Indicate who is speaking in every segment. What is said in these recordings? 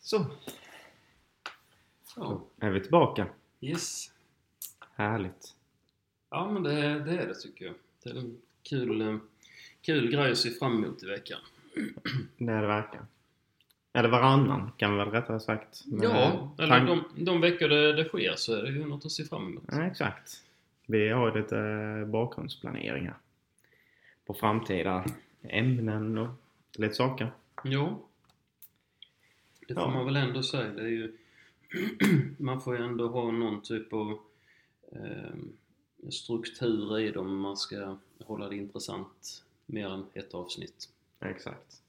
Speaker 1: Så. Ja,
Speaker 2: Är vi tillbaka?
Speaker 1: yes.
Speaker 2: Härligt.
Speaker 1: Ja, men det, det är det tycker jag. Det är en kul, eh, kul grej att se fram emot i veckan.
Speaker 2: Det är det verkligen. Eller varannan kan vi väl rättare sagt. Men,
Speaker 1: ja,
Speaker 2: eh,
Speaker 1: eller
Speaker 2: tank- Mm.
Speaker 1: de, de veckor det, det sker så är det ju något att se fram emot.
Speaker 2: Ja, exakt. Vi har ju lite eh, bakgrundsplanering här. På framtida ämnen och lite saker.
Speaker 1: Ja. Det får
Speaker 2: Ja.
Speaker 1: man väl ändå säga. Det är ju, man får ju ändå ha någon typ av ehm, struktur i dem om man ska hålla det intressant mer än ett avsnitt.
Speaker 2: Exakt.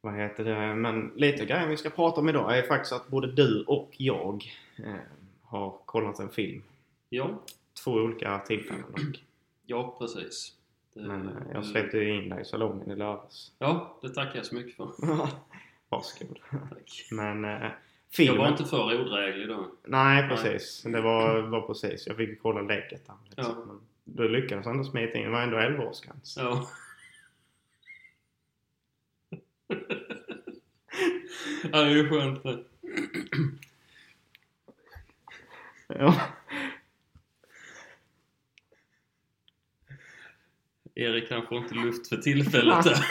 Speaker 2: Vad heter det? Men lite grejer vi ska prata om idag är faktiskt att både du och jag eh, har kollat en film.
Speaker 1: Ja,
Speaker 2: Två olika tillfällen dock.
Speaker 1: ja precis. Det,
Speaker 2: Men eh, jag släppte ju in dig i salongen i lördags.
Speaker 1: Ja, det tackar jag så mycket för.
Speaker 2: Varsågod.
Speaker 1: Tack.
Speaker 2: Men eh,
Speaker 1: Jag
Speaker 2: filmen...
Speaker 1: var inte för odräglig då.
Speaker 2: Nej, precis. Det var, var precis. Jag fick ju kolla läget där. Liksom.
Speaker 1: Ja.
Speaker 2: Men du lyckades ändå smita in. Det var ändå 11-årsgräns.
Speaker 1: Ja. ja, det är ju skönt det.
Speaker 2: Ja.
Speaker 1: Erik kanske inte luft för tillfället där.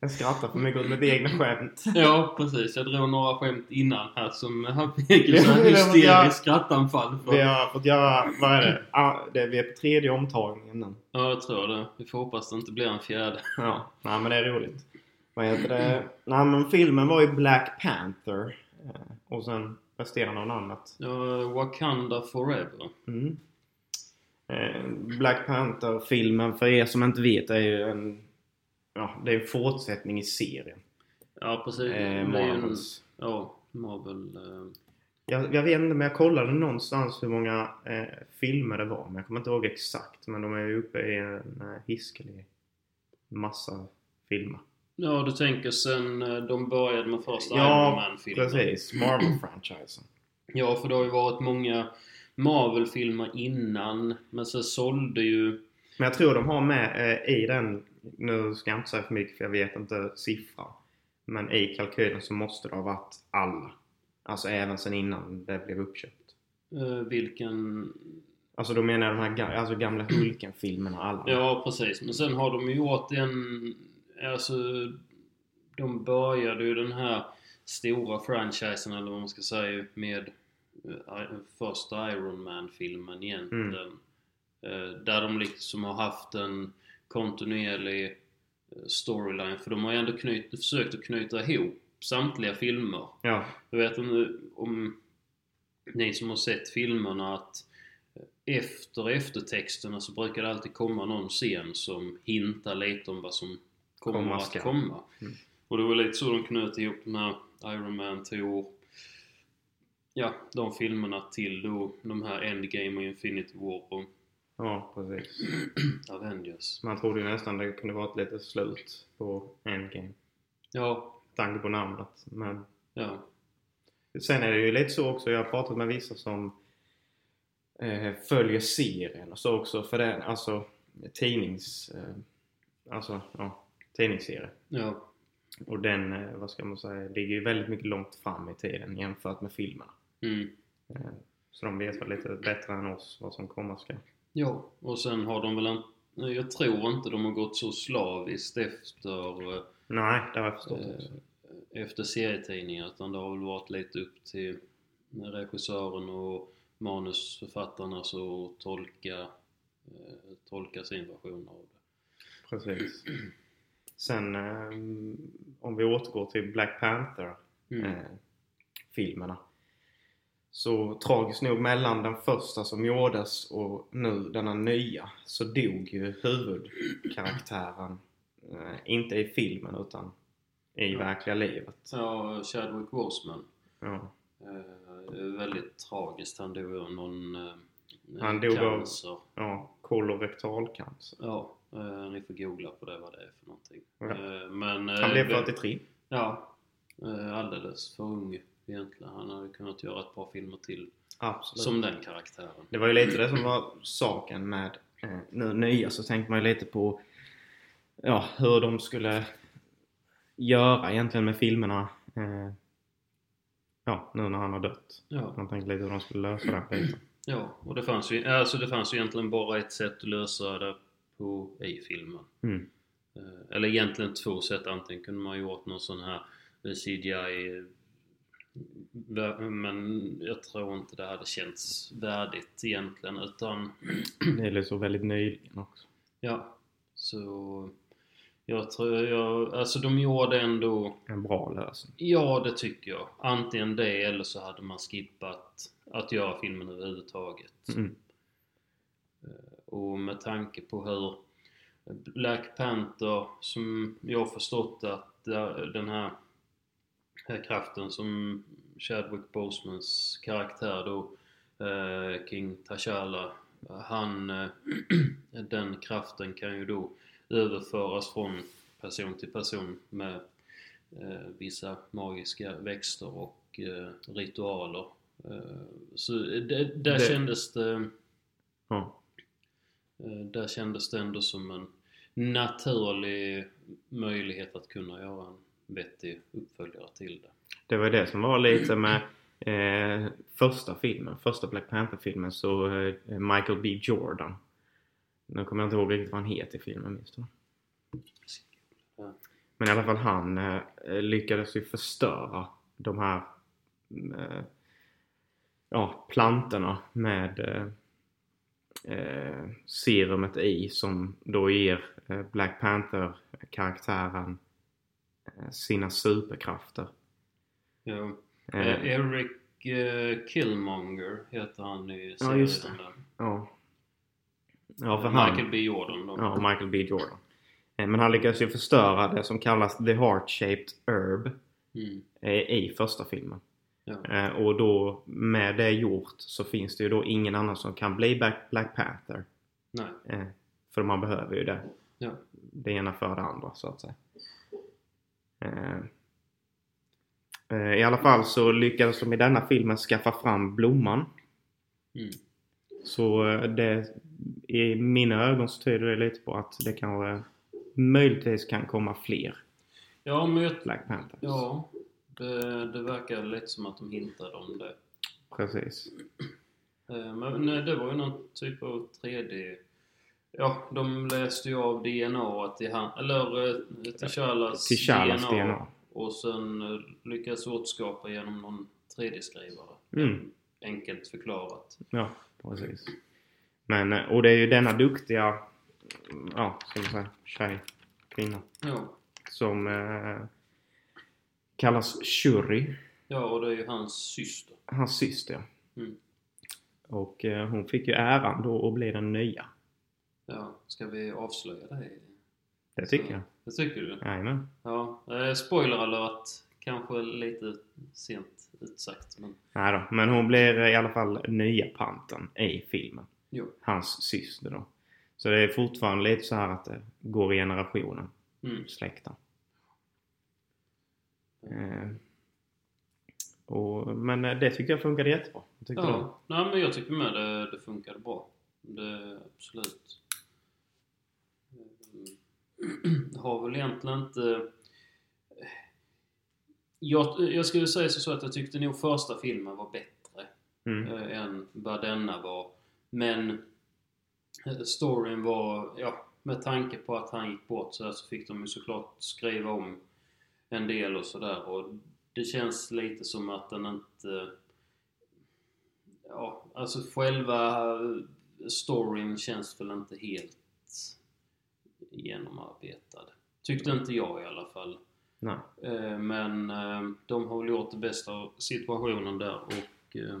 Speaker 2: Jag skrattar för mycket åt mitt egna skämt.
Speaker 1: Ja, precis. Jag drog några skämt innan här som han fick ju
Speaker 2: Ja,
Speaker 1: såhär
Speaker 2: det var- ja.
Speaker 1: hysteriskt skrattanfall för.
Speaker 2: Vi
Speaker 1: Ja.
Speaker 2: har fått göra... Vad är det? Ah, det vi är på tredje omtagningen nu.
Speaker 1: jag tror det. Vi får hoppas det inte blir en fjärde.
Speaker 2: Ja. Nej, men det är roligt. Vad heter det? Nej, men filmen var ju Black Panther. Eh, Och sen resterande av namnet.
Speaker 1: Ja, Wakanda Forever.
Speaker 2: Mm. Eh, Black Panther-filmen, för er som inte vet, är ju en... Ja, det är en fortsättning i serien.
Speaker 1: Ja, precis. Det är ju
Speaker 2: Eh,
Speaker 1: en-
Speaker 2: Marvels.
Speaker 1: Ja, Marvel. eh,
Speaker 2: Jag, jag vet inte, men jag kollade någonstans hur många eh, filmer det var. Men jag kommer inte ihåg exakt. Men de är ju uppe i en eh, hiskelig massa filmer.
Speaker 1: Ja, du tänker sen eh, de började med första Iron
Speaker 2: ja,
Speaker 1: Man-filmen.
Speaker 2: precis. Marvel-franchisen.
Speaker 1: Ja, för det har ju varit många Marvel-filmer innan. Men sen sålde ju...
Speaker 2: Men jag tror de har med eh, i den, nu ska jag inte säga för mycket för jag vet inte siffran. Men i kalkylen så måste det ha varit alla. Alltså även sen innan det blev uppköpt.
Speaker 1: eh, vilken...
Speaker 2: Alltså då menar jag de här ga- alltså gamla Hulken-filmerna alla.
Speaker 1: Ja, precis. Men sen har de ju gjort en... Alltså... De började ju den här stora franchisen, eller vad man ska säga, med eh, I- första Iron Man-filmen egentligen. Eh, Där de liksom har haft en kontinuerlig eh, storyline. För de har ju ändå knyt, försökt att knyta ihop samtliga filmer.
Speaker 2: Ja.
Speaker 1: Jag vet inte om ni som har sett filmerna att efter eftertexterna så brukar det alltid komma någon scen som hintar lite om vad som kommer
Speaker 2: Komma
Speaker 1: att
Speaker 2: ska.
Speaker 1: komma.
Speaker 2: Mm.
Speaker 1: Och det var lite så de knöt ihop den här Iron Man, Thor, ja, de filmerna till då de här Endgame och Infinity War och
Speaker 2: Ja, precis.
Speaker 1: Avengers.
Speaker 2: Man trodde ju nästan det kunde vara ett litet slut på Endgame.
Speaker 1: Ja,
Speaker 2: Tanke på namnet. Men
Speaker 1: ja,
Speaker 2: Sen är det ju lite så också, jag har pratat med vissa som eh, följer serien och så också för den, alltså tidnings... Eh, alltså, ja, tidningsserie.
Speaker 1: ja,
Speaker 2: Och den, eh, vad ska man säga, ligger ju väldigt mycket långt fram i tiden jämfört med filmerna.
Speaker 1: mm.
Speaker 2: Eh, så de vet väl lite bättre än oss vad som komma ska.
Speaker 1: Ja, och sen har de väl en... Jag tror inte de har gått så slaviskt efter eh,
Speaker 2: Nej, det har jag förstått också.
Speaker 1: eh, efter serietidningar utan det har väl varit lite upp till regissören och manusförfattarna så att tolka, eh, tolka sin version av det.
Speaker 2: Precis. Sen, eh, om vi återgår till Black Panther.
Speaker 1: Mm.
Speaker 2: eh, filmerna. Så tragiskt nog mellan den första som gjordes och nu denna nya så dog ju huvudkaraktären. Eh, inte i filmen utan i
Speaker 1: Ja.
Speaker 2: verkliga livet.
Speaker 1: Ja, Chadwick Boseman.
Speaker 2: Ja.
Speaker 1: Eh, det är väldigt tragiskt. Han dog av någon eh,
Speaker 2: Han dog av-
Speaker 1: cancer. Av...
Speaker 2: ja, kolorektalcancer.
Speaker 1: Ja, eh, ni får googla på det vad det är för någonting.
Speaker 2: Ja.
Speaker 1: Eh, men, eh,
Speaker 2: Han blev
Speaker 1: väl-
Speaker 2: 43.
Speaker 1: Ja, eh, alldeles för ung egentligen. Han hade kunnat göra ett par filmer till
Speaker 2: Absolut.
Speaker 1: som den karaktären.
Speaker 2: Det var ju lite det som var saken med eh, nu nya så tänkte man ju lite på ja, hur de skulle göra egentligen med filmerna eh, Ja, nu när han har dött.
Speaker 1: Ja.
Speaker 2: Man tänkte lite hur de skulle lösa den biten.
Speaker 1: Ja, och det fanns ju, alltså det fanns ju egentligen bara ett sätt att lösa det på i filmen.
Speaker 2: Mm.
Speaker 1: Eh, Eller egentligen två sätt. Antingen kunde man gjort någon sån här eh, CGI eh, men jag tror inte det hade känts värdigt egentligen utan
Speaker 2: Det är liksom väldigt nyligen också.
Speaker 1: ja så jag tror jag, alltså de gjorde ändå
Speaker 2: En bra lösning.
Speaker 1: Ja, det tycker jag. Antingen det eller så hade man skippat att göra filmen överhuvudtaget.
Speaker 2: Mm.
Speaker 1: Och med tanke på hur Black Panther, som jag har förstått att det- den här, här kraften som Chadwick Bosemans karaktär då, eh, King T'Challa, han, eh, den kraften kan ju då överföras från person till person med eh, vissa magiska växter och eh, ritualer. Eh, så det, där
Speaker 2: Det-
Speaker 1: kändes det...
Speaker 2: Ja.
Speaker 1: Eh, Där kändes det ändå som en naturlig möjlighet att kunna göra en vettig uppföljare till det.
Speaker 2: Det var det som var lite med eh, första filmen, första Black Panther-filmen, så eh, Michael B Jordan. Nu kommer jag inte ihåg riktigt vad han heter i filmen minst. då. Men i alla fall han eh, lyckades ju förstöra de här eh, ja, plantorna med eh, eh, serumet i som då ger eh, Black Panther-karaktären eh, sina superkrafter.
Speaker 1: Ja.
Speaker 2: Eh,
Speaker 1: Eh, Eric eh, Killmonger heter han i serien.
Speaker 2: just det.
Speaker 1: där.
Speaker 2: Ja. Ja, för han.
Speaker 1: Michael B Jordan då.
Speaker 2: Ja, Michael B Jordan. Eh, Men han lyckades ju förstöra det som kallas The Heart-Shaped Herb
Speaker 1: Mm.
Speaker 2: eh, i första filmen.
Speaker 1: Ja.
Speaker 2: Eh, Och då, med det gjort, så finns det ju då ingen annan som kan bli Black- Black Panther.
Speaker 1: Nej.
Speaker 2: Eh, För man behöver ju det.
Speaker 1: Ja.
Speaker 2: Det ena för det andra, så att säga. Eh, eh, I alla fall så lyckades de i denna filmen skaffa fram blomman.
Speaker 1: Mm.
Speaker 2: Så eh, det, i mina ögon så tyder det lite på att det kan vara, möjligtvis kan komma fler
Speaker 1: Ja, men jag,
Speaker 2: Black Panthers.
Speaker 1: ja det, det verkar lite som att de hintade om det.
Speaker 2: Precis.
Speaker 1: Eh, Men nej, det var ju någon typ av 3D... Ja, de läste ju av DNA till han... Eller eh, Tishalas
Speaker 2: Till Charles DNA.
Speaker 1: Och sen eh, lyckas återskapa genom någon 3D-skrivare.
Speaker 2: Mm.
Speaker 1: Enkelt förklarat.
Speaker 2: Ja, precis. Men, eh, och det är ju denna duktiga, ja, ska man säga, tjej, kvinna,
Speaker 1: Ja,
Speaker 2: som eh, kallas Shuri.
Speaker 1: ja och det är ju hans syster.
Speaker 2: Hans syster.
Speaker 1: Mm.
Speaker 2: Och eh, hon fick ju äran då att bli den nya.
Speaker 1: Ja, ska vi avslöja det?
Speaker 2: Det tycker jag.
Speaker 1: Det tycker du?
Speaker 2: Jajamän.
Speaker 1: Ja. Eh, spoiler alert. Kanske lite sent utsagt, men...
Speaker 2: Nej då, men hon blir eh, i alla fall nya panten i filmen.
Speaker 1: Jo.
Speaker 2: Hans syster då. Så det är fortfarande lite så här att det går i generationen,
Speaker 1: Mm.
Speaker 2: släkten. Eh, och, men eh, det tyckte jag funkade jättebra. Jag tyckte det.
Speaker 1: Ja, nej men jag tycker med det, det funkade bra. Det, absolut. Mm. Har väl egentligen inte... Jag, jag skulle säga så att jag tyckte nog första filmen var bättre
Speaker 2: Mm.
Speaker 1: eh, än vad denna var. Men eh, storyn var, ja, med tanke på att han gick bort så, här så fick de ju såklart skriva om en del och sådär och det känns lite som att den inte... Ja, alltså själva eh, storyn känns väl inte helt genomarbetad. Tyckte inte jag i alla fall.
Speaker 2: Nej.
Speaker 1: Eh, Men eh, de har väl gjort det bästa av situationen där och eh,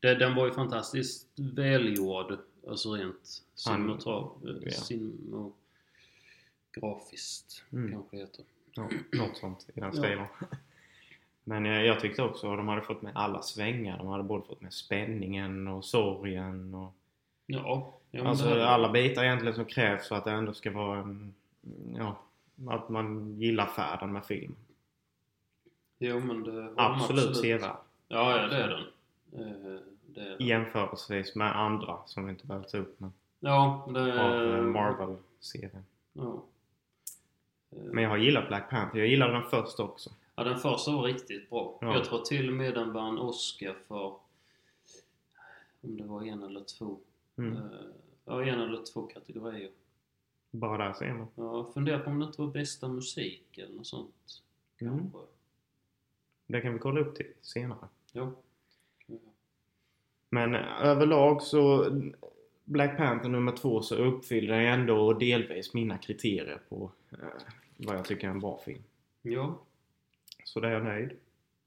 Speaker 1: det- den var ju fantastiskt välgjord. Alltså rent
Speaker 2: Han-
Speaker 1: cinematra- eh,
Speaker 2: ja.
Speaker 1: cinematografiskt
Speaker 2: Mm.
Speaker 1: kanske det heter.
Speaker 2: Ja, något sånt i den
Speaker 1: Ja.
Speaker 2: stilen. Men eh, jag tyckte också att de hade fått med alla svängar. De hade både fått med spänningen och sorgen och
Speaker 1: Ja, ja men
Speaker 2: Alltså
Speaker 1: det här-
Speaker 2: alla bitar egentligen som krävs för att det ändå ska vara en, ja, att man gillar färden med film.
Speaker 1: Jo men det har de
Speaker 2: Absolut sevärd.
Speaker 1: Ja, ja det är den. Eh, Det är den.
Speaker 2: Jämförelsevis med andra som vi inte behöver ta upp men
Speaker 1: Ja, det
Speaker 2: av eh, Marvel-serien.
Speaker 1: Ja. Eh,
Speaker 2: Men jag har gillat Black Panther. Jag gillade den först också.
Speaker 1: Ja, den första var riktigt bra.
Speaker 2: Ja.
Speaker 1: Jag tror till och med den vann Oscar för... Om det var en eller två.
Speaker 2: Mm.
Speaker 1: eh, Ja, en eller två kategorier.
Speaker 2: Bara där ser man.
Speaker 1: Jag funderar på om det inte var bästa musik eller något sånt.
Speaker 2: Mm.
Speaker 1: Kanske.
Speaker 2: Det kan vi kolla upp till senare.
Speaker 1: Jo.
Speaker 2: Men eh, överlag så Black Panther nummer två så uppfyller den ändå delvis mina kriterier på eh, vad jag tycker är en bra film.
Speaker 1: Ja.
Speaker 2: Så det är jag nöjd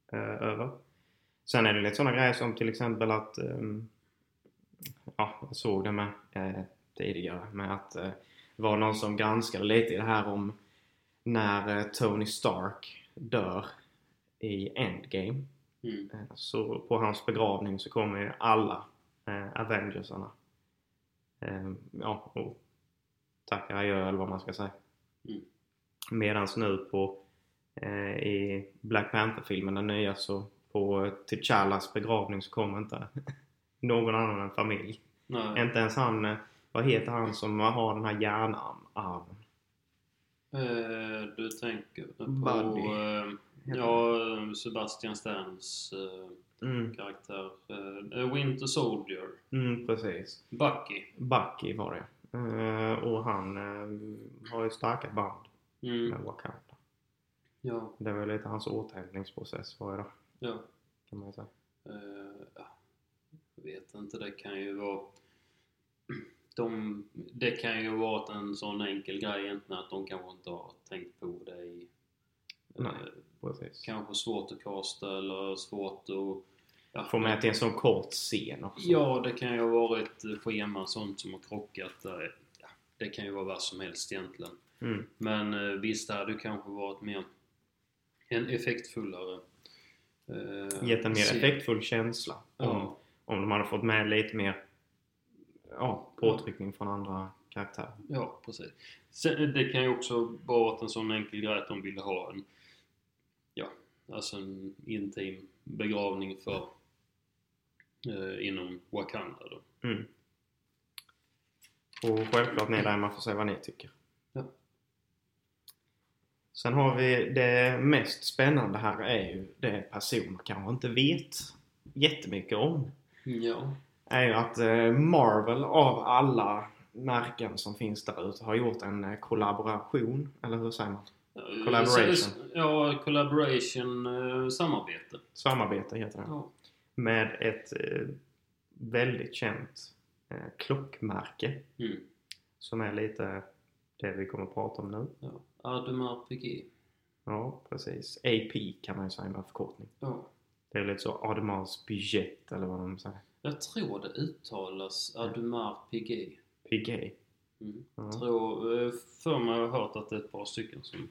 Speaker 2: eh, över. Sen är det lite sådana grejer som till exempel att ehm, ja, jag såg det med eh, tidigare med att eh, det var någon som granskade lite i det här om när eh, Tony Stark dör i Endgame
Speaker 1: Mm.
Speaker 2: Eh, Så på hans begravning så kommer ju alla eh, Avengersarna. Eh, ja, och tackar adjö eller vad man ska säga.
Speaker 1: Mm.
Speaker 2: Medans nu på eh, i Black Panther-filmen, den nya, så på eh, T'Challas begravning så kommer inte någon annan än familj.
Speaker 1: Nej.
Speaker 2: Inte ens han, eh, vad heter han som har den här järnarmen?
Speaker 1: Eh, du tänker på...
Speaker 2: Buddy.
Speaker 1: eh, ja, eh, Sebastian Stans eh,
Speaker 2: Mm,
Speaker 1: karaktär. Eh, Winter Soldier.
Speaker 2: mm, precis.
Speaker 1: Bucky.
Speaker 2: Bucky var det. Eh, och han eh, har ju starka band med
Speaker 1: Mm.
Speaker 2: Wakanda.
Speaker 1: Ja.
Speaker 2: Det var lite hans återhämtningsprocess var det då,
Speaker 1: ja.
Speaker 2: kan man ju säga.
Speaker 1: Eh, ja, jag vet inte, det kan ju vara... De, det kan ju vara att en sån enkel grej egentligen att de kanske inte har tänkt på det i...
Speaker 2: Nej.
Speaker 1: Eh,
Speaker 2: Precis.
Speaker 1: kanske svårt att kasta eller svårt att... Ja,
Speaker 2: Få med till en sån kort scen också.
Speaker 1: Ja, det kan ju ha varit eh, scheman sånt som har krockat. där. Ja, det kan ju vara vad som helst egentligen.
Speaker 2: Mm.
Speaker 1: Men eh, visst, det hade ju kanske varit mer en effektfullare... Eh,
Speaker 2: Gett en mer
Speaker 1: scen.
Speaker 2: effektfull känsla. Om,
Speaker 1: Ja,
Speaker 2: om de hade fått med lite mer ja, påtryckning från andra karaktärer.
Speaker 1: Ja, precis. Sen, eh, det kan ju också vara att en sån enkel grej att de ville ha en, ja, alltså en intim begravning för eh, inom Wakanda då.
Speaker 2: Mm. Och självklart ni där, man får säga vad ni tycker.
Speaker 1: Ja.
Speaker 2: Sen har vi det mest spännande här är ju det personer kanske inte vet jättemycket om.
Speaker 1: Ja.
Speaker 2: är ju att eh, Marvel av alla märken som finns där ute har gjort en eh, kollaboration, eller hur säger man? Collaboration.
Speaker 1: Eh, Ja, collaboration, eh, samarbete.
Speaker 2: Samarbete heter det.
Speaker 1: Ja.
Speaker 2: Med ett eh, väldigt känt eh, klockmärke
Speaker 1: Mm.
Speaker 2: som är lite det vi kommer att prata om nu.
Speaker 1: ja. Ademar PG.
Speaker 2: Ja, precis. AP kan man ju säga med förkortning.
Speaker 1: Ja.
Speaker 2: Det är lite så Audemars Piguet eller vad de säger.
Speaker 1: Jag tror det uttalas Ademar PG.
Speaker 2: Piguet.
Speaker 1: Mm.
Speaker 2: Ja.
Speaker 1: Tror, eh, för mig har jag hört att det är ett par stycken som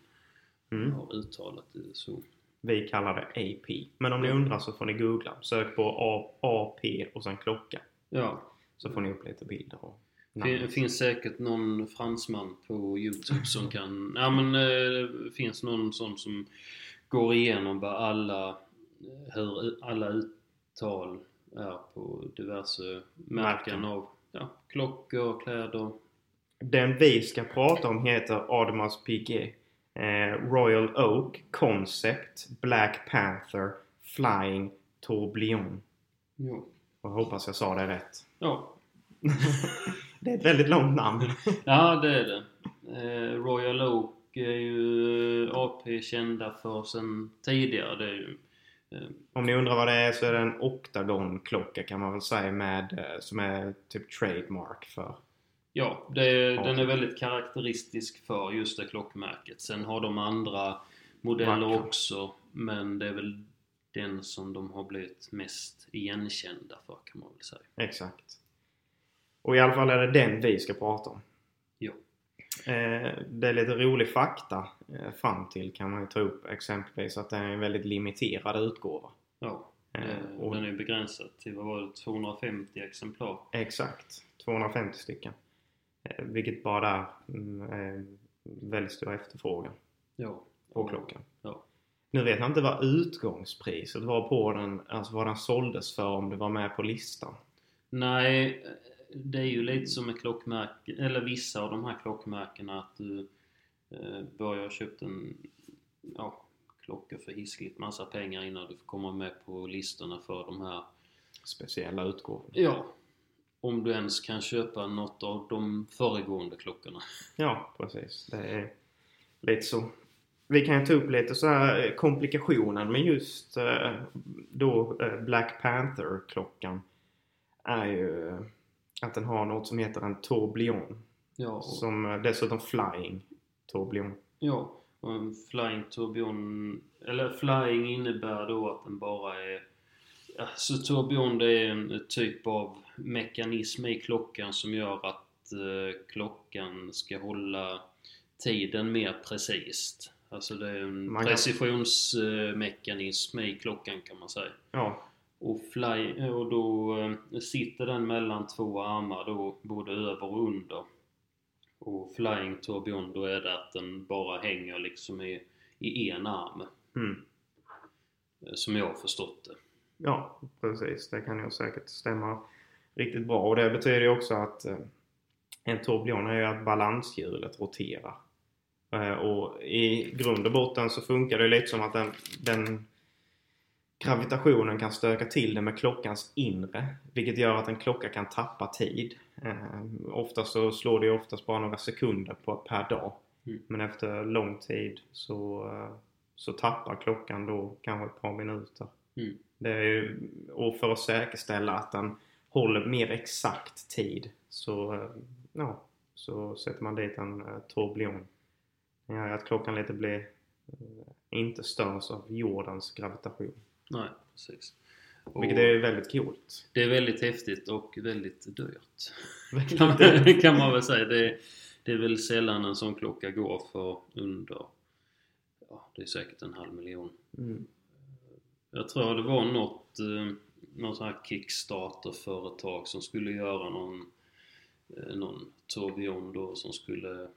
Speaker 2: Mm.
Speaker 1: har uttalat det så.
Speaker 2: Vi kallar det AP. Men om ni
Speaker 1: Mm.
Speaker 2: undrar så får ni googla. Sök på A- AP och sen klocka.
Speaker 1: Ja.
Speaker 2: Så får ni upp lite bilder och
Speaker 1: Det finns säkert någon fransman på Youtube som kan... Ja men eh, det finns någon sån som går igenom vad alla, eh, hur alla uttal är på diverse märken
Speaker 2: Märken.
Speaker 1: av ja, klockor, kläder.
Speaker 2: Den vi ska prata om heter Audemars Piguet eh, Royal Oak Concept Black Panther Flying Tourbillon.
Speaker 1: Jo.
Speaker 2: Jag hoppas jag sa det rätt.
Speaker 1: Ja.
Speaker 2: Det är ett väldigt långt namn.
Speaker 1: ja, det är det. Eh, Royal Oak är ju eh, AP kända för sen tidigare. Det är ju, eh,
Speaker 2: Om ni undrar vad det är så är det en oktagonklocka kan man väl säga med eh, som är typ trademark för.
Speaker 1: Ja, det, den är väldigt karaktäristisk för just det klockmärket. Sen har de andra modeller
Speaker 2: Vackra.
Speaker 1: också, men det är väl den som de har blivit mest igenkända för kan man väl säga.
Speaker 2: Exakt. Och i alla fall är det den vi ska prata om.
Speaker 1: Ja.
Speaker 2: Eh, det är lite rolig fakta eh, fram till kan man ju ta upp exempelvis att det är en väldigt limiterad utgåva.
Speaker 1: Ja,
Speaker 2: Eh,
Speaker 1: eh,
Speaker 2: och,
Speaker 1: den är begränsad till, vad var det, 250 exemplar?
Speaker 2: Exakt, 250 stycken. Eh, vilket bara där mm, är väldigt stor efterfrågan
Speaker 1: Ja.
Speaker 2: på
Speaker 1: Och-
Speaker 2: klockan.
Speaker 1: Ja.
Speaker 2: Nu vet jag inte vad utgångspriset var på den, alltså vad den såldes för om det var med på listan.
Speaker 1: Nej, eh, det är ju lite som med klockmärken, eller vissa av de här klockmärkena att du eh, börjar köpa en ja, klockor för hiskligt massa pengar innan du får komma med på listorna för de här.
Speaker 2: Speciella utgåvor.
Speaker 1: Ja. Om du ens kan köpa något av de föregående klockorna.
Speaker 2: Ja, precis. Det är lite så. Vi kan ju ta upp lite så här eh, komplikationen med just eh, då eh, Black Panther-klockan är ju eh, att den har något som heter en tourbillon.
Speaker 1: Ja, och,
Speaker 2: Som eh, dessutom flying tourbillon.
Speaker 1: ja. och en flying tourbillon... Eller flying innebär då att den bara är... Alltså tourbillon det är en typ av mekanism i klockan som gör att eh, klockan ska hålla tiden mer precis. Alltså det är en
Speaker 2: Man kan-
Speaker 1: precisionsmekanism i klockan kan man säga.
Speaker 2: Ja,
Speaker 1: Och, fly, och då eh, sitter den mellan två armar då, både över och under. Och flying tourbillon, då är det att den bara hänger liksom i, i en arm.
Speaker 2: mm.
Speaker 1: eh, Som jag har förstått det.
Speaker 2: Ja, precis. Det kan ju säkert stämma riktigt bra. Och det betyder ju också att eh, en tourbillon är ju att balanshjulet roterar. Eh, och i grund och botten så funkar det lite som att den, den gravitationen kan stöka till det med klockans inre. Vilket gör att en klocka kan tappa tid. Eh, oftast så slår det ju oftast bara några sekunder på, per dag.
Speaker 1: Mm.
Speaker 2: Men efter lång tid så, eh, så tappar klockan då kanske ett par minuter.
Speaker 1: Mm.
Speaker 2: Det är ju, och för att säkerställa att den håller mer exakt tid så, eh, ja, så sätter man dit en eh, tourbillon. Den gör ju att klockan lite blir eh, inte störs av jordens gravitation.
Speaker 1: Nej, precis. Och
Speaker 2: Vilket är väldigt coolt.
Speaker 1: Det är väldigt häftigt och väldigt dyrt. Kan man, kan man väl säga. Det är, det är väl sällan en sån klocka går för under... Ja, det är säkert en halv miljon.
Speaker 2: Mm.
Speaker 1: Jag tror det var något, eh, något sånt här Kickstarter-företag som skulle göra någon, eh, någon tourbillon då som skulle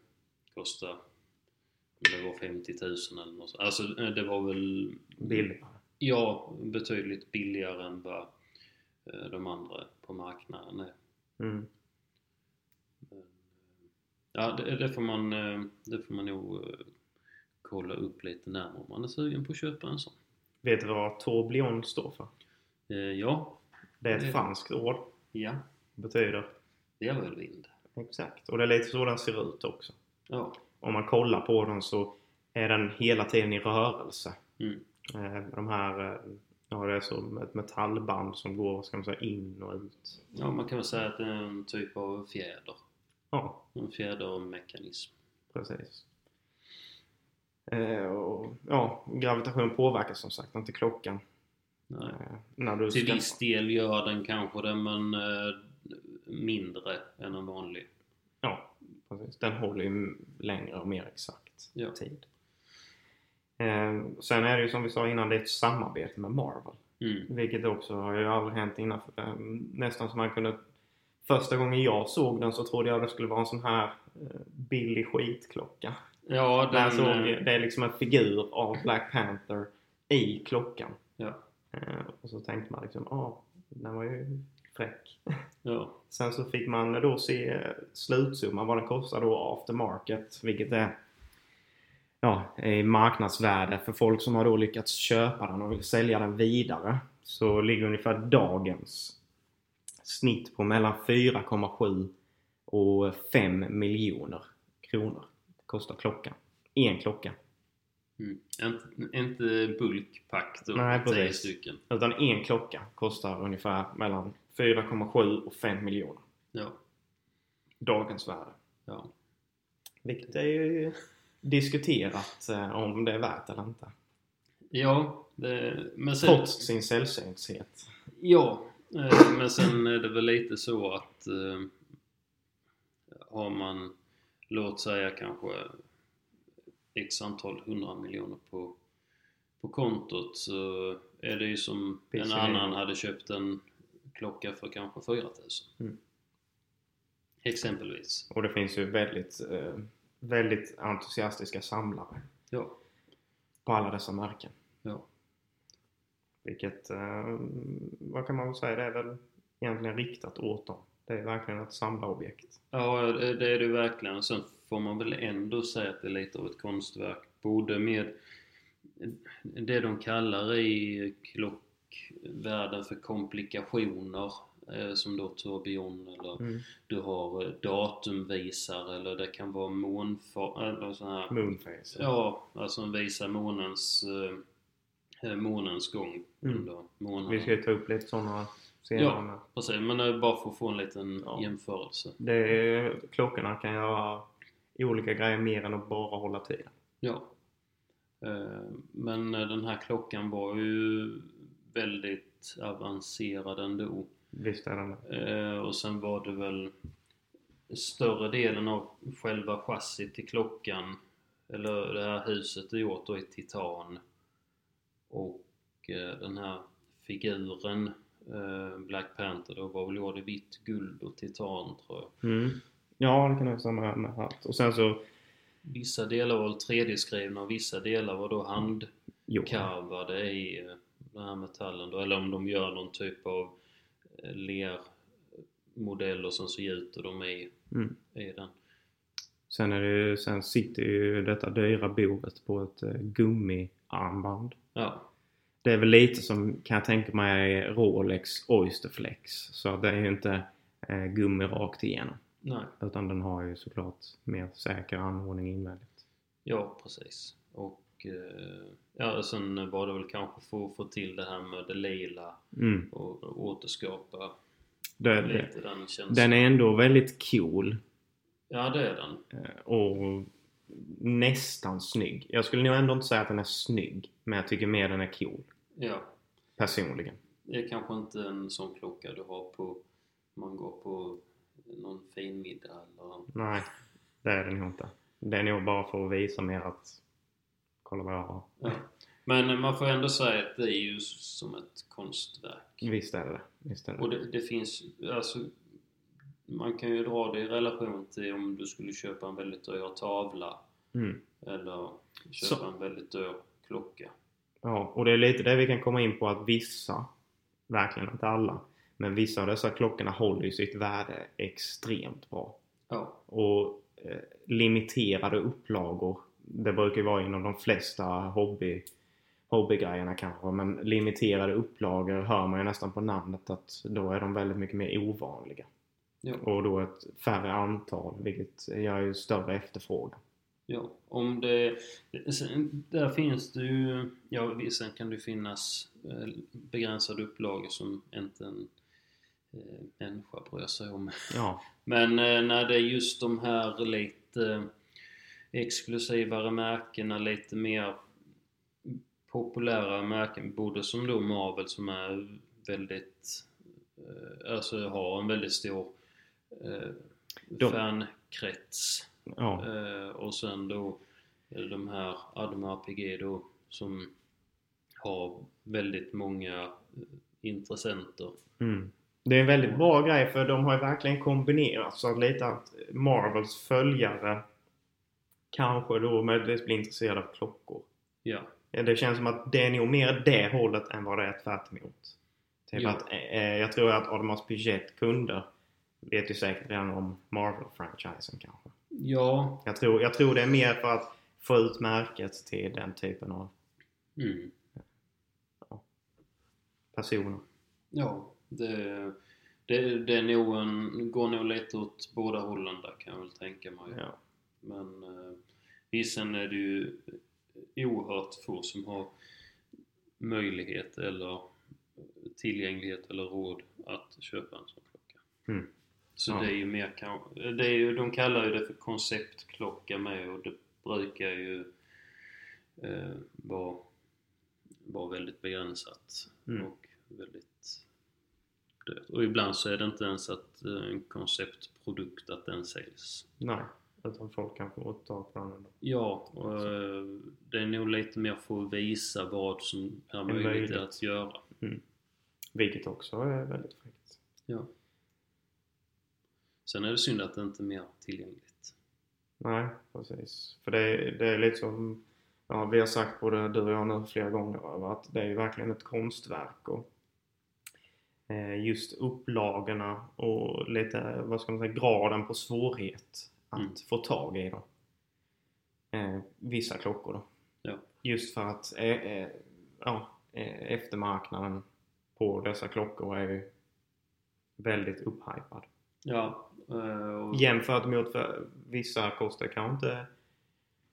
Speaker 1: kosta, om det var 50 000 eller något sånt. Alltså eh, det var väl,
Speaker 2: Billigare.
Speaker 1: ja, betydligt billigare än vad eh, de andra på marknaden är.
Speaker 2: Mm.
Speaker 1: Men, eh, Ja, det, det, får man, eh, det får man nog eh, kolla upp lite närmare om man är sugen på att köpa en sån.
Speaker 2: Vet du vad tourbillon står för?
Speaker 1: Eh, Ja,
Speaker 2: Det är
Speaker 1: Det-
Speaker 2: ett franskt ord.
Speaker 1: ja,
Speaker 2: Betyder
Speaker 1: det är väl vind.
Speaker 2: exakt. Och det är lite så den ser ut också.
Speaker 1: Ja.
Speaker 2: om man kollar på den så är den hela tiden i rörelse.
Speaker 1: Mm.
Speaker 2: Eh, De här, eh, ja det är som ett metallband som går, ska man säga, in och ut.
Speaker 1: Ja, man kan väl säga att det är en typ av fjäder.
Speaker 2: Ja,
Speaker 1: En fjädermekanism.
Speaker 2: precis. Eh, Och, ja, gravitation påverkar som sagt inte klockan.
Speaker 1: Nej.
Speaker 2: Eh, När du
Speaker 1: Till
Speaker 2: ska-
Speaker 1: viss del gör den kanske det, men eh, mindre än en vanlig.
Speaker 2: Ja, precis. Den håller ju längre och mer exakt
Speaker 1: Ja.
Speaker 2: tid. Eh, Sen är det ju som vi sa innan, det är ett samarbete med Marvel.
Speaker 1: Mm.
Speaker 2: Vilket också har ju aldrig hänt innan. Ehm, Nästan som man kunde... Första gången jag såg den så trodde jag det skulle vara en sån här eh, billig skitklocka.
Speaker 1: Ja,
Speaker 2: Där
Speaker 1: den...
Speaker 2: såg,
Speaker 1: eh,
Speaker 2: jag- det är liksom en figur av Black Panther i klockan.
Speaker 1: ja,
Speaker 2: Eh, Och så tänkte man liksom, ah, den var ju fräck.
Speaker 1: ja,
Speaker 2: Sen så fick man då se eh, slutsumman, vad den kostar då after market. Vilket är ja, i marknadsvärde för folk som har då lyckats köpa den och vill sälja den vidare. Så ligger ungefär dagens snitt på mellan 4,7 och 5 miljoner kronor. Kostar klockan. En klocka.
Speaker 1: mm. Inte, inte bulkpack då,
Speaker 2: Nej,
Speaker 1: tio
Speaker 2: precis.
Speaker 1: stycken.
Speaker 2: Utan en klocka kostar ungefär mellan 4,7 och 5 miljoner.
Speaker 1: Ja,
Speaker 2: Dagens värde.
Speaker 1: ja.
Speaker 2: Vilket är ju diskuterat eh, om det är värt eller inte.
Speaker 1: Ja, det, men sen...
Speaker 2: Trots sin sällsynthet.
Speaker 1: Ja, eh, men sen är det väl lite så att eh, har man, låt säga kanske x antal hundra miljoner på, på kontot så är det ju som en
Speaker 2: Precis.
Speaker 1: annan hade köpt en klocka för kanske 4000.
Speaker 2: Mm.
Speaker 1: Exempelvis.
Speaker 2: Och det finns ju väldigt, eh, väldigt entusiastiska samlare
Speaker 1: Ja,
Speaker 2: på alla dessa märken.
Speaker 1: ja,
Speaker 2: Vilket, eh, vad kan man väl säga, det är väl egentligen riktat åt dem. Det är verkligen ett samlarobjekt.
Speaker 1: ja det det är det verkligen. Sen får man väl ändå säga att det är lite av ett konstverk. Både med det de kallar i klockvärlden för komplikationer eh, som då tourbillon eller
Speaker 2: Mm.
Speaker 1: du har eh, datumvisare eller det kan vara månfar... Eller sån här,
Speaker 2: Mm. Moonface.
Speaker 1: Ja, alltså en visa månens, eh, månens gång
Speaker 2: Mm.
Speaker 1: under månaden.
Speaker 2: Vi ska ju ta upp lite sådana senare.
Speaker 1: Ja.
Speaker 2: med.
Speaker 1: Precis, men det är bara för att få en liten
Speaker 2: Ja.
Speaker 1: jämförelse.
Speaker 2: Det är, klockorna kan göra olika grejer mer än att bara hålla tiden.
Speaker 1: Ja. Eh, Men eh, den här klockan var ju väldigt avancerad ändå.
Speaker 2: Visst är den det?
Speaker 1: Eh, Och sen var det väl större delen av själva chassit till klockan, eller det här huset är gjort då i titan. Och eh, den här figuren, eh, Black Panther, då var väl gjord i vitt guld och titan tror jag.
Speaker 2: Mm. Ja, det kan jag ha samma här med hatt. Och sen så...
Speaker 1: Vissa delar var väl 3D-skrivna och vissa delar var då hand
Speaker 2: Jo.
Speaker 1: karvade i eh, den här metallen då, eller om de gör någon typ av eh, lermodeller som så gjuter de i,
Speaker 2: Mm.
Speaker 1: i den.
Speaker 2: Sen, är det, ju- sen sitter ju detta dyra boet på ett eh, gummiarmband.
Speaker 1: Ja,
Speaker 2: Det är väl lite som, kan jag tänka mig, Rolex Oysterflex. Så det är ju inte eh, gummi rakt igenom.
Speaker 1: nej,
Speaker 2: Utan den har ju såklart mer säker anordning invändigt.
Speaker 1: ja precis. Och eh, ja, sen var det väl kanske för att få till det här med det lila
Speaker 2: Mm.
Speaker 1: och, och återskapa
Speaker 2: Det, det,
Speaker 1: lite den känslan.
Speaker 2: den är ändå väldigt cool
Speaker 1: Ja, det är den.
Speaker 2: eh, och nästan snygg. Jag skulle nog ändå inte säga att den är snygg, men jag tycker mer den är cool.
Speaker 1: Ja.
Speaker 2: Personligen.
Speaker 1: Det är kanske inte en sån klocka du har på, man går på någon fin middag eller
Speaker 2: Nej, det är den nog inte. Det är nog bara för att visa mer att kolla vad jag har.
Speaker 1: Ja. Men man får ändå säga att det är ju som ett konstverk.
Speaker 2: Visst är det det. Visst är det.
Speaker 1: Och det, det finns, alltså man kan ju dra det i relation till om du skulle köpa en väldigt dyr tavla
Speaker 2: Mm.
Speaker 1: eller köpa
Speaker 2: Så-
Speaker 1: en väldigt dyr klocka.
Speaker 2: Ja, och det är lite det vi kan komma in på att vissa, verkligen inte alla, men vissa av dessa klockorna håller ju sitt värde extremt bra.
Speaker 1: Ja,
Speaker 2: och eh, limiterade upplagor. Det brukar ju vara inom de flesta hobby, hobbygrejerna kanske, men limiterade upplagor hör man ju nästan på namnet att då är de väldigt mycket mer ovanliga.
Speaker 1: Ja.
Speaker 2: Och då ett färre antal, vilket gör ju större efterfrågan.
Speaker 1: ja. Om det, sen, där finns det ju, ja sen kan det finnas eh, begränsade upplagor som inte en eh, människa bryr sig om.
Speaker 2: Ja,
Speaker 1: Men eh, när det är just de här lite eh, exklusivare märkena, lite mer populära märken, både som då Marvel som är väldigt, eh, alltså har en väldigt stor eh,
Speaker 2: De-
Speaker 1: fankrets.
Speaker 2: ja.
Speaker 1: Eh, och sen då eh, de här Adam RPG då som har väldigt många eh, intressenter.
Speaker 2: Mm. Det är en väldigt bra grej för de har ju verkligen kombinerat så att lite att Marvels följare kanske då möjligtvis blir intresserade av klockor.
Speaker 1: Ja,
Speaker 2: Ja, det känns som att det är nog mer det hållet än vad det är tvärt emot. Typ
Speaker 1: Jo.
Speaker 2: att, eh, jag tror att Audemars Piguet kunder vet ju säkert redan om Marvel-franchisen kanske.
Speaker 1: ja.
Speaker 2: Jag tror, jag tror det är mer för att få ut märket till den typen av
Speaker 1: Mm.
Speaker 2: personer.
Speaker 1: Ja, det, det, det är nog en, går nog lite åt båda hållen där kan jag väl tänka mig.
Speaker 2: Ja.
Speaker 1: Men eh, visst, sen är det ju oerhört få som har möjlighet eller tillgänglighet eller råd att köpa en sån klocka.
Speaker 2: Mm.
Speaker 1: Så
Speaker 2: Ja.
Speaker 1: det är ju mer kan- det är ju, de kallar ju det för konceptklocka med och det brukar ju eh, vara, vara väldigt begränsat
Speaker 2: Mm.
Speaker 1: och väldigt dött. Och ibland så är det inte ens att eh, en konceptprodukt att den säljs.
Speaker 2: Nej, utan folk kan få tag på den ändå.
Speaker 1: Ja, och eh, det är nog lite mer för att visa vad som är
Speaker 2: möjligt.
Speaker 1: möjligt att göra.
Speaker 2: Vilket också är väldigt fräckt.
Speaker 1: Ja. Sen är det synd att det inte är mer tillgängligt.
Speaker 2: Nej, precis. För det, det är lite som ja, vi har sagt både du och jag nu flera gånger över att det är ju verkligen ett konstverk och eh, just upplagorna och lite, vad ska man säga, graden på svårighet att
Speaker 1: Mm.
Speaker 2: få tag i dem. Eh, vissa klockor då.
Speaker 1: Ja.
Speaker 2: Just för att eh, eh, ja, eh, eftermarknaden på dessa klockor är ju väldigt upphypad.
Speaker 1: Ja. eh, Och,
Speaker 2: Jämfört mot för vissa kostar kanske inte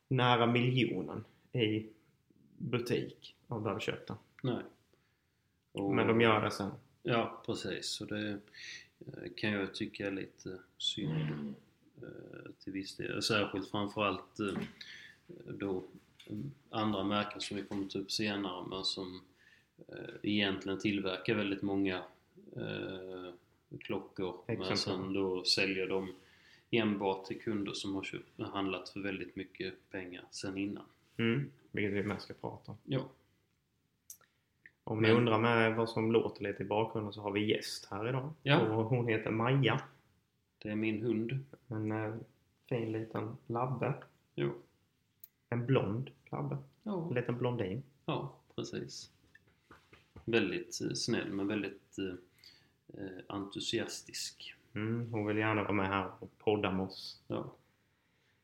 Speaker 2: nära miljonen i butik om du har köpt den.
Speaker 1: Nej. Och,
Speaker 2: Men de gör det sen.
Speaker 1: Ja, precis. Så det eh, kan jag tycka är lite synd eh, till viss del. Särskilt framförallt eh, då eh, andra märken som vi kommit upp senare men som eh, egentligen tillverkar väldigt många eh, klockor men
Speaker 2: Exempel.
Speaker 1: sen då säljer de enbart till kunder som har köpt, handlat för väldigt mycket pengar sen innan.
Speaker 2: Mm. Vilket vi mest ska prata om.
Speaker 1: Ja.
Speaker 2: Om ni
Speaker 1: Men-
Speaker 2: undrar med vad som låter lite i bakgrunden så har vi gäst här idag.
Speaker 1: Ja.
Speaker 2: Och hon heter Maja.
Speaker 1: Det är min hund.
Speaker 2: En eh, fin liten labbe.
Speaker 1: Jo.
Speaker 2: En blond labbe.
Speaker 1: Ja.
Speaker 2: En liten blondin.
Speaker 1: Ja, precis. Väldigt eh, snäll men väldigt eh, eh, entusiastisk.
Speaker 2: Mm, hon vill gärna vara med här och podda med oss.
Speaker 1: Ja.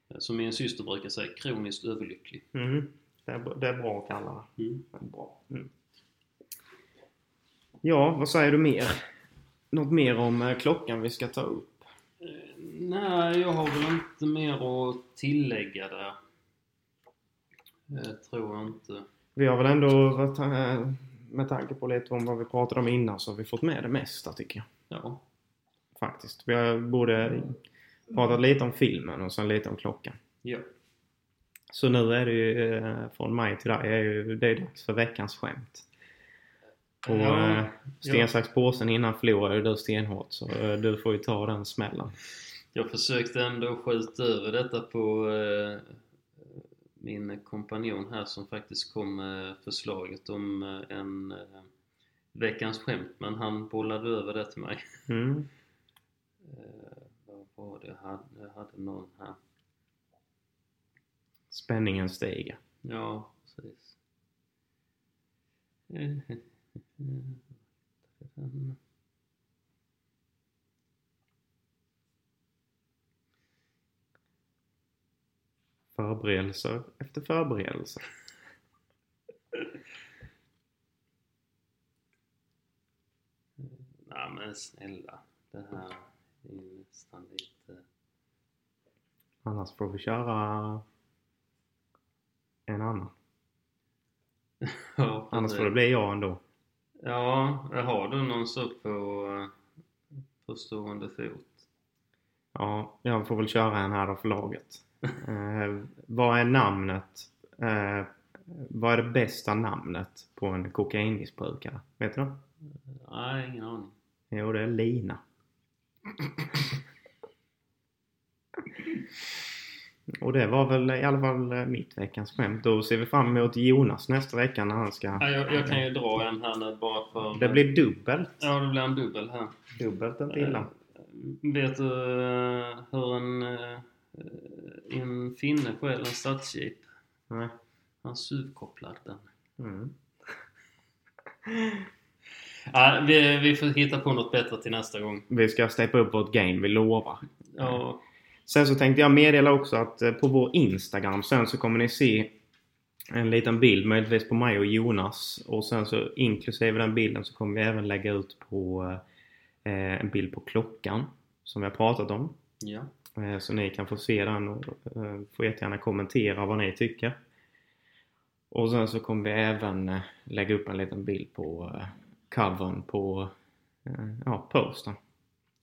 Speaker 1: Eh, Som min syster brukar säga, kroniskt överlycklig.
Speaker 2: Mm. Det, är, bra- det är bra kallar
Speaker 1: Mm.
Speaker 2: det. Bra. Mm. Ja, vad säger du mer? Något mer om eh, klockan vi ska ta upp?
Speaker 1: Eh, nej, jag har väl inte mer att tillägga där. Eh, tror jag inte.
Speaker 2: Vi har väl ändå, varit, eh, med tanke på lite om vad vi pratade om innan, så har vi fått med det mesta tycker jag.
Speaker 1: Ja,
Speaker 2: Faktiskt. Vi har både pratat lite om filmen och sen lite om klockan.
Speaker 1: ja.
Speaker 2: Så nu är det ju eh, från mig till dig, är ju, det är dags för veckans skämt. Och
Speaker 1: Ja,
Speaker 2: eh, sten, sax, påsen innan förlorade ju du stenhårt så eh, du får ju ta den smällen.
Speaker 1: Jag försökte ändå skjuta över detta på eh, min kompanjon här som faktiskt kom med förslaget om eh, en eh, veckans skämt men han bollade över det till mig.
Speaker 2: Mm.
Speaker 1: Eh, vad var det jag hade? Jag hade någon här.
Speaker 2: Spänningen stiger.
Speaker 1: Ja, precis. Eh,
Speaker 2: Förberedelser efter förberedelser.
Speaker 1: Nej men snälla. Det här är ju nästan lite...
Speaker 2: Annars får vi köra en annan.
Speaker 1: Ja,
Speaker 2: Annars
Speaker 1: precis.
Speaker 2: får det bli jag ändå.
Speaker 1: Ja, har du någon så på, eh, på stående fot?
Speaker 2: Ja, jag får väl köra en här då för laget. Eh, vad är namnet? Eh, vad är det bästa namnet på en kokainmissbrukare? Vet du det?
Speaker 1: Nej, ingen aning.
Speaker 2: Jo, det är Lina. Och det var väl i alla fall eh, mitt veckans skämt. Då ser vi fram emot Jonas nästa vecka när han ska...
Speaker 1: Nej, jag, jag kan ju dra en här nu bara för...
Speaker 2: Det blir dubbelt.
Speaker 1: Ja, Eh. det blir en dubbel här.
Speaker 2: Dubbelt inte illa.
Speaker 1: Vet du eh, hur en, eh, en finne stjäl en stadsjeep?
Speaker 2: Nej.
Speaker 1: Han suvkopplade den.
Speaker 2: Mm.
Speaker 1: Ja, vi, vi får hitta på något bättre till nästa gång.
Speaker 2: Vi ska steppa upp vårt game, vi lovar.
Speaker 1: Ja,
Speaker 2: Sen så tänkte jag meddela också att eh, på vår Instagram sen så kommer ni se en liten bild möjligtvis på mig och Jonas och sen så inklusive den bilden så kommer vi även lägga ut på eh, en bild på klockan som vi har pratat om.
Speaker 1: ja.
Speaker 2: Eh, så ni kan få se den och eh, får jättegärna kommentera vad ni tycker. Och sen så kommer vi även eh, lägga upp en liten bild på eh, covern på eh, ja, posten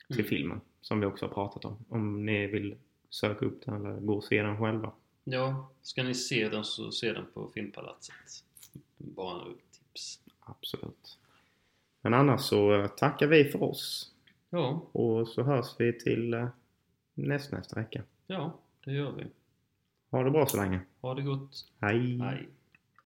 Speaker 2: till
Speaker 1: Mm.
Speaker 2: filmen som vi också har pratat om. Om ni vill söka upp den eller gå och se den själva.
Speaker 1: ja, ska ni se den så se den på Filmpalatset. Bara ett tips.
Speaker 2: Absolut. Men annars så eh, tackar vi för oss
Speaker 1: Ja,
Speaker 2: och så hörs vi till eh, näst, nästa vecka.
Speaker 1: ja, det gör vi.
Speaker 2: Ha det bra så länge.
Speaker 1: Ha det gott.
Speaker 2: Hej!
Speaker 1: Hej.